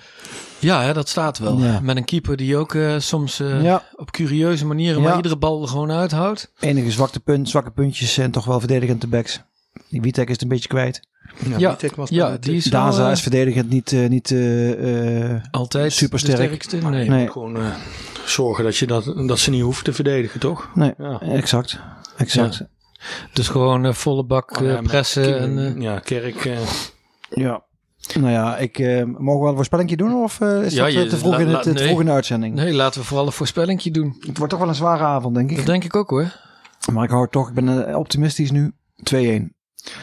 Ja, hè, dat staat wel.
Ja.
Met een keeper die ook eh, soms eh,
Ja.
op curieuze manieren maar
Ja.
iedere bal er gewoon uithoudt.
Enige zwakte punt, zwakke puntjes en toch wel verdedigend de backs. Die Witek is het een beetje kwijt.
Ja,
Witek was
ja,
bij de-
die is wel,
Daza
eh,
is verdedigend niet... eh, niet eh, eh,
altijd
supersterk.
de sterkste. Nee.
nee.
Gewoon eh, zorgen dat, je dat, dat ze niet hoeven te verdedigen, toch?
nee,
Ja.
exact. Exact. Ja.
Dus gewoon eh, volle bak eh,
Oh Ja, maar
pressen. En, eh,
ja, Kerk. eh,
Nou ja, ik, eh, mogen we wel een voorspellingje doen of eh, is
Ja,
dat eh,
je-
te vroeg
la-
in,
la-
het, te
nee.
vroeg in de uitzending?
nee, laten we vooral een voorspellingje doen.
Het wordt toch wel een zware avond, denk ik.
Dat denk ik ook hoor.
Maar ik hou het toch, ik ben eh, optimistisch nu. 2-1.
Ja,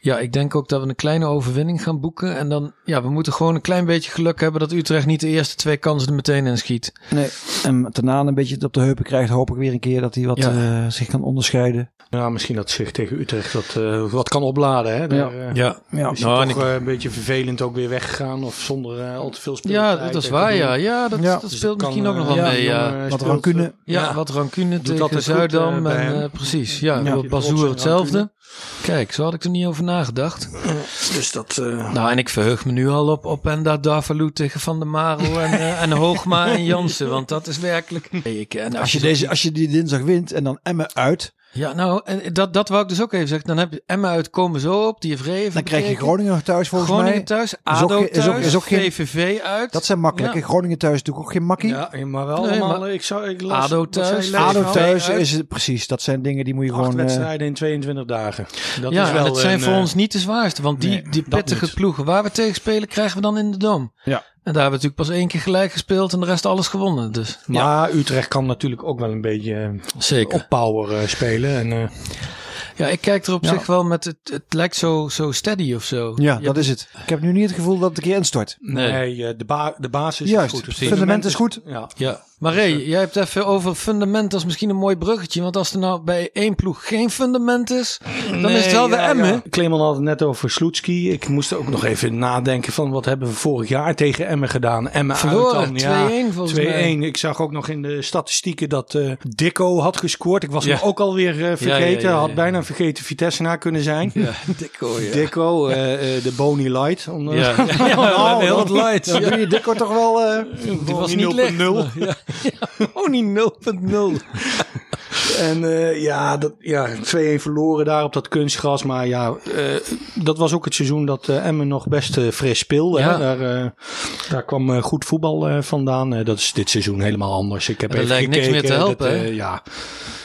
Ja, ik denk ook dat we een kleine overwinning gaan boeken. En dan, ja, we moeten gewoon een klein beetje geluk hebben dat Utrecht niet de eerste twee kansen er meteen in schiet.
Nee. En daarna een beetje het op de heupen krijgt. Hoop ik weer een keer dat hij wat
Ja.
eh, zich kan onderscheiden.
Ja, misschien dat zich tegen Utrecht dat, eh, wat kan opladen. Hè? Daar, eh,
Ja,
Ja.
Is
Nou,
hij
en
toch eh, een beetje vervelend ook weer weggegaan of zonder eh, al te veel
ja
speeltijd.
dat is
eh,
waar.
te doen.
Ja, ja dat,
Ja.
dat
Dus
speelt
het kan,
misschien ook
eh,
nog wel
ja,
mee. Ja,
dan, eh,
ja.
Wat
speelt,
rancune.
eh, ja.
wat rancune
altijd
tegen
goed,
Zuidam.
eh, bij
en,
hem.
eh, precies, ja.
Ja.
ja. Bazoer
Rancune.
hetzelfde. Kijk, zo had ik er niet over nagedacht.
Dus dat... eh,
Nou, en ik verheug me nu al op, op Enda Darvalu tegen Van der Marel en, eh, en Hoogma en Jansen. Want dat is werkelijk... Nee, ik, eh, en
Als je, deze, als je die dinsdag wint en dan Emmen uit,
Ja, nou, en dat, dat wou ik dus ook even zeggen. Dan heb je Emma uit Komen Zo op, die heeft Reven
dan krijg je
bekeken.
Groningen nog thuis volgens
Groningen
mij.
thuis,
ook
ADO
geen- is ook-
thuis,
is ook geen-
VVV uit.
Dat zijn makkelijke.
Ja.
Groningen thuis natuurlijk ook geen makkie.
ja, maar wel
Nee,
allemaal... eh,
maar-
ik zou, ik las,
ADO
wat zij
thuis,
lezen.
ADO
VVV
thuis
uit.
is het precies. Dat zijn dingen die moet je
Acht
gewoon... eh,
wedstrijden in 22 dagen. Dat
ja,
is wel
en het zijn
een,
voor
eh,
ons niet de zwaarste. Want die,
nee,
die
dat
pittige
niet.
ploegen waar we tegen spelen, krijgen we dan in de Dom.
Ja.
En daar hebben we natuurlijk pas één keer gelijk gespeeld en de rest alles gewonnen. Dus
Maar Utrecht kan natuurlijk ook wel een beetje eh,
zeker.
op power eh, spelen. En, eh,
Ja, ik kijk er op
Ja.
zich wel met het, het lijkt zo, zo steady of zo.
ja,
Je
dat
hebt-
is het. Ik heb nu niet het gevoel dat het een keer instort.
Nee.
nee, eh, de, ba- de basis
Juist,
is goed.
het fundament is goed.
Ja.
Ja, maar Ray,
Dus, eh,
jij hebt even over fundament als misschien een mooi bruggetje. Want als er nou bij één ploeg geen fundament is, dan is het wel
de
weer Emmen.
Kleeman had het net over Sloetski. Ik moest ook nog even nadenken van wat hebben we vorig jaar tegen Emmen gedaan. Emmen
Verloren,
uit dan. Ja,
2-1 volgens
2-1. Ik zag ook nog in de statistieken dat eh Dikko had gescoord. Ik was
Ja.
hem ook alweer eh,
ja,
vergeten.
ja, ja.
Had bijna vergeten Vitesse na kunnen zijn.
Ja, dikko, ja.
Dikko, eh, eh, de Bony Light. Om, eh,
Ja, ja,
Oh,
heel
dat-
wat light.
Dan doe je Dikko toch wel... eh,
Die was
Bony
niet licht.
0.0.
Ja. Ja, Bony 0.0.
En eh, ja, dat, ja, 2-1 verloren daar op dat kunstgras. Maar ja, eh, dat was ook het seizoen dat eh, Emmen nog best eh, fris speelde.
Ja.
Hè? Daar, eh, daar kwam eh, goed voetbal eh, vandaan. Eh, dat is dit seizoen helemaal anders. Ik heb
En er
even
lijkt niks
gekeken.
meer te helpen,
dat,
hè?
eh, ja.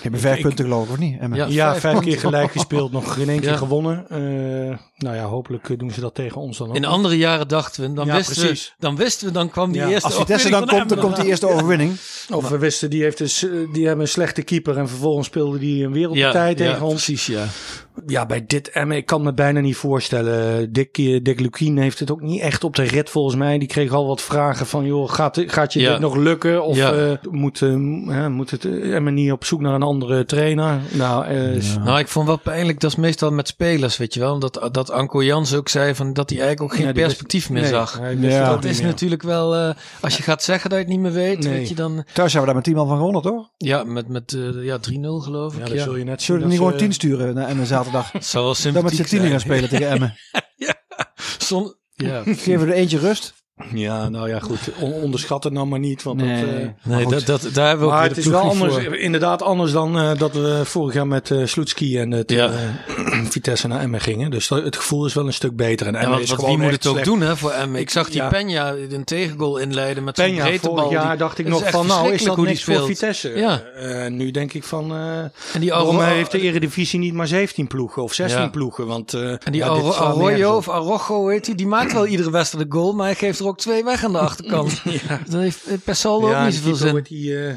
Je hebt vijf punten geloof ik, of niet? Emmen?
Ja.
ja,
vijf
vijf, keer gelijk gespeeld. Nog geen één keer
Ja.
gewonnen. Eh, nou ja, hopelijk eh, doen ze dat tegen ons dan ook.
In andere jaren dachten we, dan,
Ja,
wisten we,
precies.
dan wisten we, dan kwam die
Ja,
eerste
Als Vitesse dan komt, dan komt die eerste overwinning.
Of we wisten, die, heeft dus, eh, die hebben een slechte keeper. En vervolgens speelde die een wereldpartij tegen ons.
Precies, ja.
Ja, bij dit Emmen, ik kan me bijna niet voorstellen. Dick, eh, Dick Lukien heeft het ook niet echt op de rit volgens mij. Die kreeg al wat vragen van, joh, gaat, gaat je
Ja.
dit nog lukken? Of
Ja.
eh, moet, eh, m- hè, moet het eh, Emmen niet op zoek naar een andere trainer? Nou, eh, s-
Nou, ik vond wel pijnlijk, dat is meestal met spelers, weet je wel. Omdat eh, dat Anko Jans ook zei van, dat hij eigenlijk ook geen
Ja, die-
perspectief meer
nee,
zag.
hij wist
Ja.
het ook
Dat
niet
is
meer.
natuurlijk wel, eh, als je gaat zeggen dat je het niet meer weet,
Nee.
weet je dan...
Thuis hebben we daar met 10 man van gewonnen, toch?
Ja, met, met eh, ja, 3-0 geloof
Ja,
ik.
dat
Ja,
zul je net zien.
Zullen we er niet
dat eh,
gewoon
ze-
10 sturen naar Emmen zaterdag?
Het zou wel
Dan met
sympathiek
z'n tienen gaan
zijn.
spelen tegen Emmen.
Zon- ja.
Geven we er eentje rust.
Ja, nou ja, goed. On- onderschat het nou maar niet. Want dat, eh,
Nee, dat, dat, daar hebben we ook
maar
weer
het
de
is
ploeg
wel
niet
anders,
voor.
inderdaad anders dan eh, dat we vorig jaar met eh Sloetski en eh, toen,
Ja.
eh, Vitesse naar Emmen gingen. Dus dat- het gevoel is wel een stuk beter. En
En
Emmen
wat,
is
wat,
gewoon
wie moet
echt
het ook
slecht.
doen hè, voor Emmen? Ik zag die
Ja.
Peña een tegengoal inleiden met zijn
Penja,
breedte
vorig
bal.
jaar
Die-
dacht ik
het
nog
echt
van, nou is dat
verschrikkelijk hoe die
niks voor
speelt.
Vitesse.
Ja.
Eh, nu denk ik van, eh
En die
waarom
Arro-
heeft de Eredivisie niet maar 17 ploegen of 16
Ja.
ploegen? Want, eh,
en die
ja, dit
Arro-
slaat nergens
Arroyo
op.
of Arrojo, weet die, die maakt wel iedere wedstrijd een goal, maar hij geeft er ook twee weg aan de achterkant. Dat heeft eh, per saldo
ja,
ook niet zoveel
die keeper
zin.
wordt die, eh,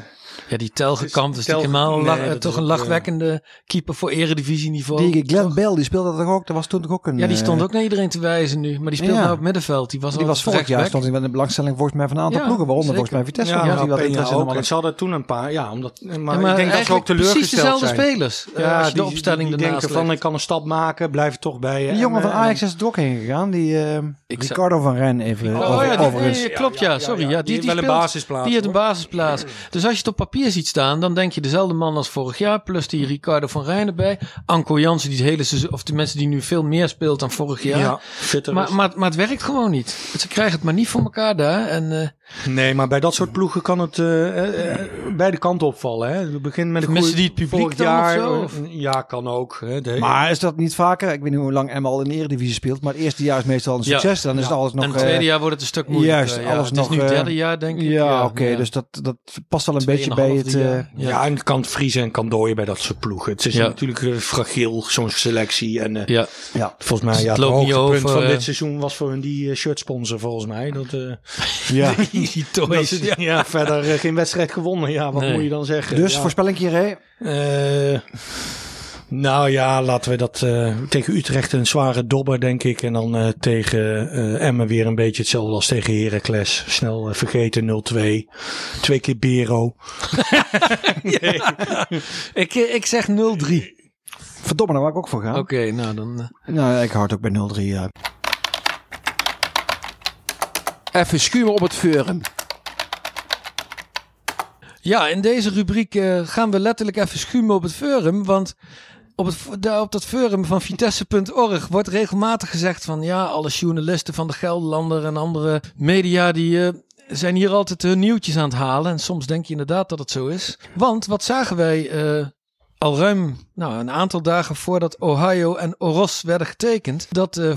Ja, die telgekamp is
Tel-
natuurlijk helemaal een
Nee,
lach-
dat is
toch een
ook, eh,
lachwekkende keeper voor eredivisieniveau.
Die Glenn Bell, die speelde dat toch ook? Dat was toen toch ook een...
Ja, die
eh,
stond ook naar iedereen te wijzen nu. Maar die speelt
Ja.
nou op middenveld. Die was,
Die was vorig jaar stond hij wel in de belangstelling volgens mij van een aantal
Ja,
ploegen. Waaronder
zeker.
volgens mij Vitesse.
ja,
omdat hij
ja,
wat
Penja
interesse in
ook.
hem
En
had.
ze hadden toen een paar, ja, omdat, eh, maar,
Ja,
ik denk dat ze ook
precies
teleurgesteld
dezelfde
zijn.
spelers. Ja, Eh, als je de
die-
opstelling
die, die
ernaast
denken van,
legt.
ik kan een stap maken, blijf er toch bij. eh,
Die jongen
Emmen.
van Ajax is er ook heen gegaan. Die eh,
Ik zou-
Ricardo van Rijn even
Oh
over-
ja, die,
overigens.
eh, klopt ja, sorry. Ja, die,
Die heeft
die
wel een
speelt-
basisplaats,
Die heeft een
hoor.
basisplaats. Dus als je het op papier ziet staan, dan denk je dezelfde man als vorig jaar. Plus die Ricardo van Rijn erbij. Anko Jansen, die het hele seizoen, of de mensen die nu veel meer speelt dan vorig jaar.
Ja, fitter is.
maar, maar, maar het werkt gewoon niet. Ze krijgen het maar niet voor elkaar daar. En, eh,
Nee, maar bij dat soort ploegen kan het eh, eh, eh, beide kanten opvallen. Hè? We beginnen met een
Missen
goeie-
die het publiek
vorig
dan
jaar,
of zo,
eh,
of?
Ja, kan ook. Hè? De-
Maar is dat niet vaker? Ik weet niet hoe lang Emma al in de Eredivisie speelt. Maar het eerste jaar is meestal een
Ja.
succes. Dan is het alles nog...
en het tweede
eh,
jaar wordt het een stuk moeilijker.
juist,
ja.
alles
het
nog,
is nu het
eh,
derde jaar, denk ik.
Ja, oké. Dus dat, dat past al een beetje bij het... eh,
ja.
ja.
en het kan vriezen en kan dooien bij dat soort ploegen. Het is
Ja.
natuurlijk eh, fragiel, zo'n selectie. En eh,
ja. Dus
ja.
volgens mij,
het
ja, het,
loopt niet
hoogtepunt
over,
van
eh,
dit seizoen was voor hun die eh, shirtsponsor, volgens mij. Dat, eh,
ja.
Die
dat
toys.
ze ja. verder eh, geen wedstrijd gewonnen. Ja, wat
Nee.
moet je dan zeggen?
Dus
ja.
voorspelling hier, hè?
Eh, Nou ja, laten we dat eh, tegen Utrecht een zware dobber, denk ik. En dan eh, tegen eh, Emmen weer een beetje hetzelfde als tegen Heracles. Snel eh, vergeten 0-2. Twee keer Bero.
Ik, ik zeg 0-3. Oké,
Verdomme, daar wou ik ook voor gaan.
nou dan. eh,
Nou, ik houd ook bij 0-3. Ja.
Even schuimen op het vuren.
Ja, in deze rubriek eh, gaan we letterlijk even schuimen op het forum. Want op, het, vo- daar op dat forum van Vitesse.org wordt regelmatig gezegd van... ja, alle journalisten van de Gelderlander en andere media die... eh, zijn hier altijd hun nieuwtjes aan het halen. En soms denk je inderdaad dat het zo is. Want wat zagen wij eh, al ruim nou, een aantal dagen voordat Ohio en Oros werden getekend? Dat eh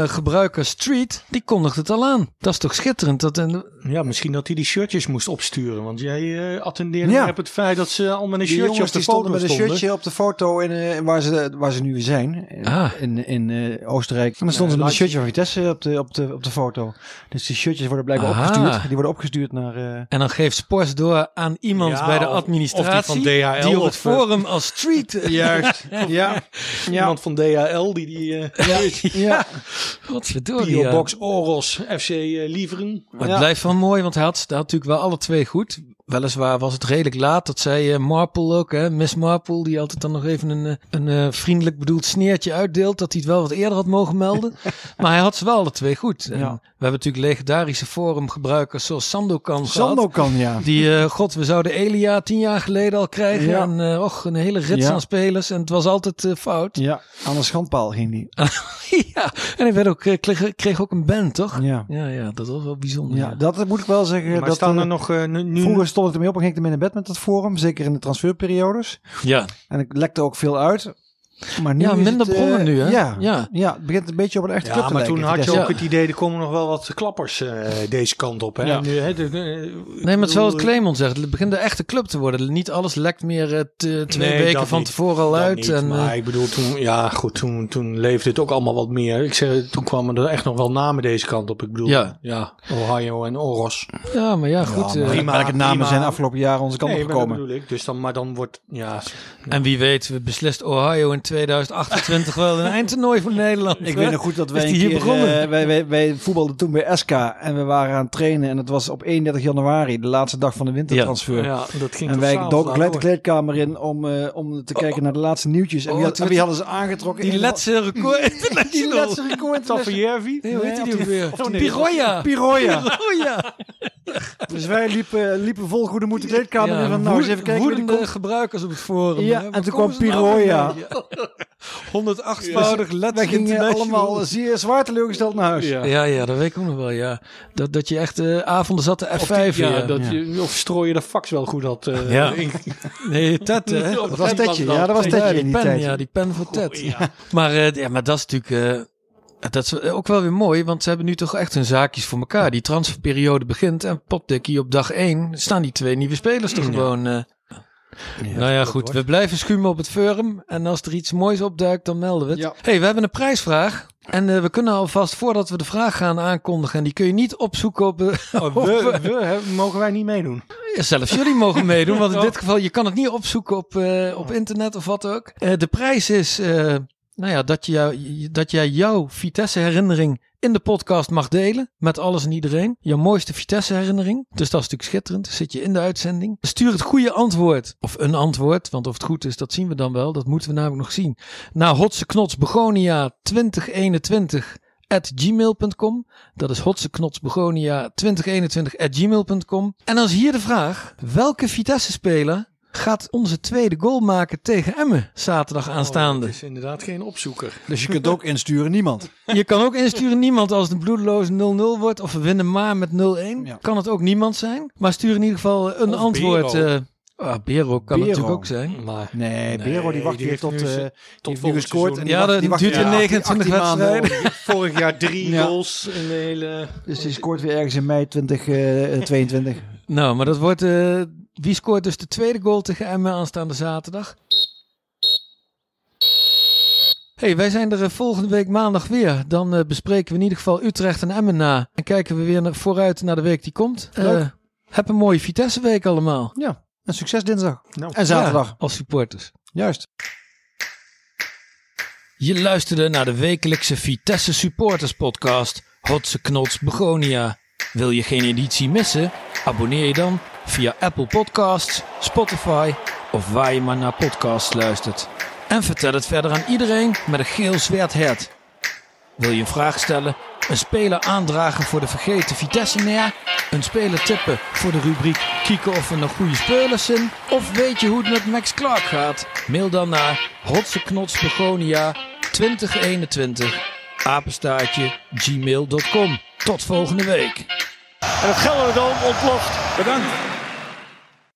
forumgebruiker Street, die kondigt het al aan. Dat is toch schitterend. Dat een,
Ja, misschien dat hij die shirtjes moest opsturen. Want jij eh attendeerde
Ja.
me op het feit dat ze allemaal een
Die
shirtje op
jongens
de
die stonden
foto
met een
stonden.
shirtje op de foto in, eh, waar, ze, waar ze nu weer zijn. In,
Ah.
in, in, eh, Oostenrijk. En dan stonden ze met een shirtje van Vitesse op de, op, de, op de foto. Dus die shirtjes worden blijkbaar
Aha.
opgestuurd. Die worden opgestuurd naar... eh,
En dan geeft Spors door aan iemand
Ja,
bij de
of-
administratie.
of die van DHL
die op het
of- eh,
forum als street. eh,
Juist. ja. Ja.
Iemand van DHL die die eh
ja. eh,
Godverdorie.
P.O.
ja.
Box Oros FC eh, Lieveren.
Maar het
Ja.
blijft wel mooi, want hij had, hij had natuurlijk wel alle twee goed. Weliswaar was het redelijk laat. Dat zei eh, Marple ook, hè? Miss Marple, die altijd dan nog even een, eh, een eh, vriendelijk bedoeld sneertje uitdeelt. Dat hij het wel wat eerder had mogen melden. maar hij had ze wel alle twee goed. En
Ja.
We hebben natuurlijk legendarische forumgebruikers zoals Sandokan gehad.
Sando kan, ja.
Die, eh, god, we zouden Elia tien jaar geleden al krijgen.
Ja.
En eh, och, een hele rits
Ja.
aan spelers. En het was altijd eh, fout. Ja.
Ja, aan de schandpaal ging die.
en hij werd ook, eh, kreeg, kreeg ook een band, toch?
Ja.
Ja, ja, dat was wel bijzonder.
Ja, dat moet ik wel zeggen.
Maar
dat
staan
eh,
er nog eh, nu, nu-
Vroeger stond ik ermee op en ging ik ermee naar bed met dat forum. Zeker in de transferperiodes.
ja.
En ik lekte ook veel uit. Maar nu
Ja,
is het,
minder
eh,
bronnen nu, hè?
Ja,
Ja.
ja. het begint een beetje op een echte club
Ja,
te
maar
lijken,
toen had je
Vitesse.
ook
Ja.
het idee, er komen nog wel wat klappers eh, deze kant op. Hè?
Ja.
En Nu, hè, de- de-
Nee, maar het is wel wat
bedoel,
Clemon zegt. Het begint de echte club te worden. Niet alles lekt meer eh, te- twee
Nee,
weken
dat
van
niet.
tevoren al
dat
uit.
niet,
en, eh,
maar ik bedoel, toen, ja, goed, toen, toen leefde het ook allemaal wat meer. Ik zeg, toen kwamen er echt nog wel namen deze kant op. Ik bedoel,
Ja.
ja, Ohio en Oros.
ja, maar ja, goed. eh,
Maar
prima,
welke namen
prima.
zijn afgelopen jaren onze kant
Nee,
op
maar dat
gekomen?
bedoel ik. Dus dan, maar dan wordt, ja,
en wie weet, we beslist Ohio in 2028 wel een eindtoernooi voor Nederland.
Ik
hè?
weet nog goed dat wij
Is
een
die hier
keer,
begonnen?
eh, wij, wij, wij voetbalden toen bij SK en we waren aan het trainen en het was op 31 januari, de laatste dag van de wintertransfer.
ja, dat ging
En
tot
wij
s'avonds
doken
laat
gelijk de
door.
kleedkamer in om, eh, om te kijken naar de laatste nieuwtjes. En
Oh,
wie, had-
het
en
werd-
wie hadden ze aangetrokken?
Die
En-
laatste record
Die
international.
laatste record.
Tafferjervi?
Nee, hoe heet
Nee,
die
of
ook
die-
weer?
of die-
Piroja.
Piroja.
Piroja.
Dus wij liepen, liepen vol goede moed de kleedkamer in. Van, nou, eens even kijken. wie er
woedende
komt.
gebruikers op het forum.
Ja,
hè? Waar
en toen
komen
kwam
ze nou
Piroja.
vandaan? 108-voudig
Wij
letterlijk
gingen eh, allemaal
international.
zeer zwaar teleurgesteld naar huis.
Ja, ja, dat weet ik ook nog wel, ja. Dat, dat je echt eh, avonden zat de F5
Ja,
ja.
dat Je, of strooien de fax wel goed had. eh,
Ja.
inge-
Nee, Ted, hè?
Dat
Dat was Tetje. Ja, dat was
Ja,
Tetje
die
in die
pen,
tijd.
ja, die pen voor Ted. Maar, eh, ja, maar dat is natuurlijk... eh, dat is ook wel weer mooi, want ze hebben nu toch echt hun zaakjes voor elkaar. Die transferperiode begint en potdikkie op dag 1 staan die twee nieuwe spelers er gewoon... eh. nou ja, goed. We blijven schuimen op het forum. En als er iets moois opduikt, dan melden we het.
Ja.
hey, we hebben een prijsvraag. En eh, we kunnen alvast, voordat we de vraag gaan aankondigen... en die kun je niet opzoeken op... eh,
Oh, we, we hebben- mogen wij niet meedoen.
Zelfs jullie mogen meedoen, want in dit geval, je kan het niet opzoeken op, eh, op internet of wat ook. Eh, de prijs is eh, nou ja, dat, je, jou- dat jij jouw Vitesse-herinnering in de podcast mag delen. Met alles en iedereen. Jouw mooiste Vitesse-herinnering. Dus dat is natuurlijk schitterend. Zit je in de uitzending. Stuur het goede antwoord. Of een antwoord, want of het goed is, dat zien we dan wel. Dat moeten we namelijk nog zien. Naar hotseknotsbegonia 2021 at gmail.com. Dat is hotseknotsbegonia2021.gmail.com. En dan is hier de vraag: welke Vitesse-speler gaat onze tweede goal maken tegen Emmen zaterdag aanstaande?
Oh, is inderdaad geen opzoeker.
Dus je kunt ook insturen niemand.
Je kan ook insturen niemand als het een bloedeloze 0-0 wordt of we winnen maar met 0-1.
Ja.
Kan het ook niemand zijn, maar stuur in ieder geval een
Of
antwoord.
Bero.
eh ah, Bero kan
Bero.
natuurlijk ook zijn.
Maar
Nee, Bero die wacht weer
die heeft
tot,
nu
eh,
zijn-
die heeft nu
volgend
gescoord. en
seizoen.
die
Ja,
wacht-
dat
die wacht
duurt
weer
in 29
18 maanden.
wedstrijden.
vorig jaar drie
Ja.
goals in de hele...
Dus die scoort weer ergens in mei eh, 2022.
Nou, maar dat wordt. eh, wie scoort dus de tweede goal tegen Emmen aanstaande zaterdag? hey, wij zijn er eh, volgende week maandag weer. Dan eh, bespreken we in ieder geval Utrecht en Emmen na. En kijken we weer naar, vooruit naar de week die komt. Eh,
Leuk.
heb een mooie Vitesse-week allemaal.
ja, een succes dinsdag.
Nou.
en zaterdag.
Ja, als supporters.
Juist.
Je luisterde naar de wekelijkse Vitesse Supporters Podcast Hotse Knots Begonia. Wil je geen editie missen? Abonneer je dan via Apple Podcasts, Spotify of waar je maar naar podcasts luistert. En vertel het verder aan iedereen met een geel zwart hert. Wil je een vraag stellen? Een speler aandragen voor de vergeten Vitesse-neer? Een speler tippen voor de rubriek kieken of er nog goede spelers zijn? Of weet je hoe het met Max Clark gaat? Mail dan naar hotseknotsbegonia 2021 apenstaartje gmail.com. Tot volgende week.
En het Gelderdoom ontploft.
Bedankt.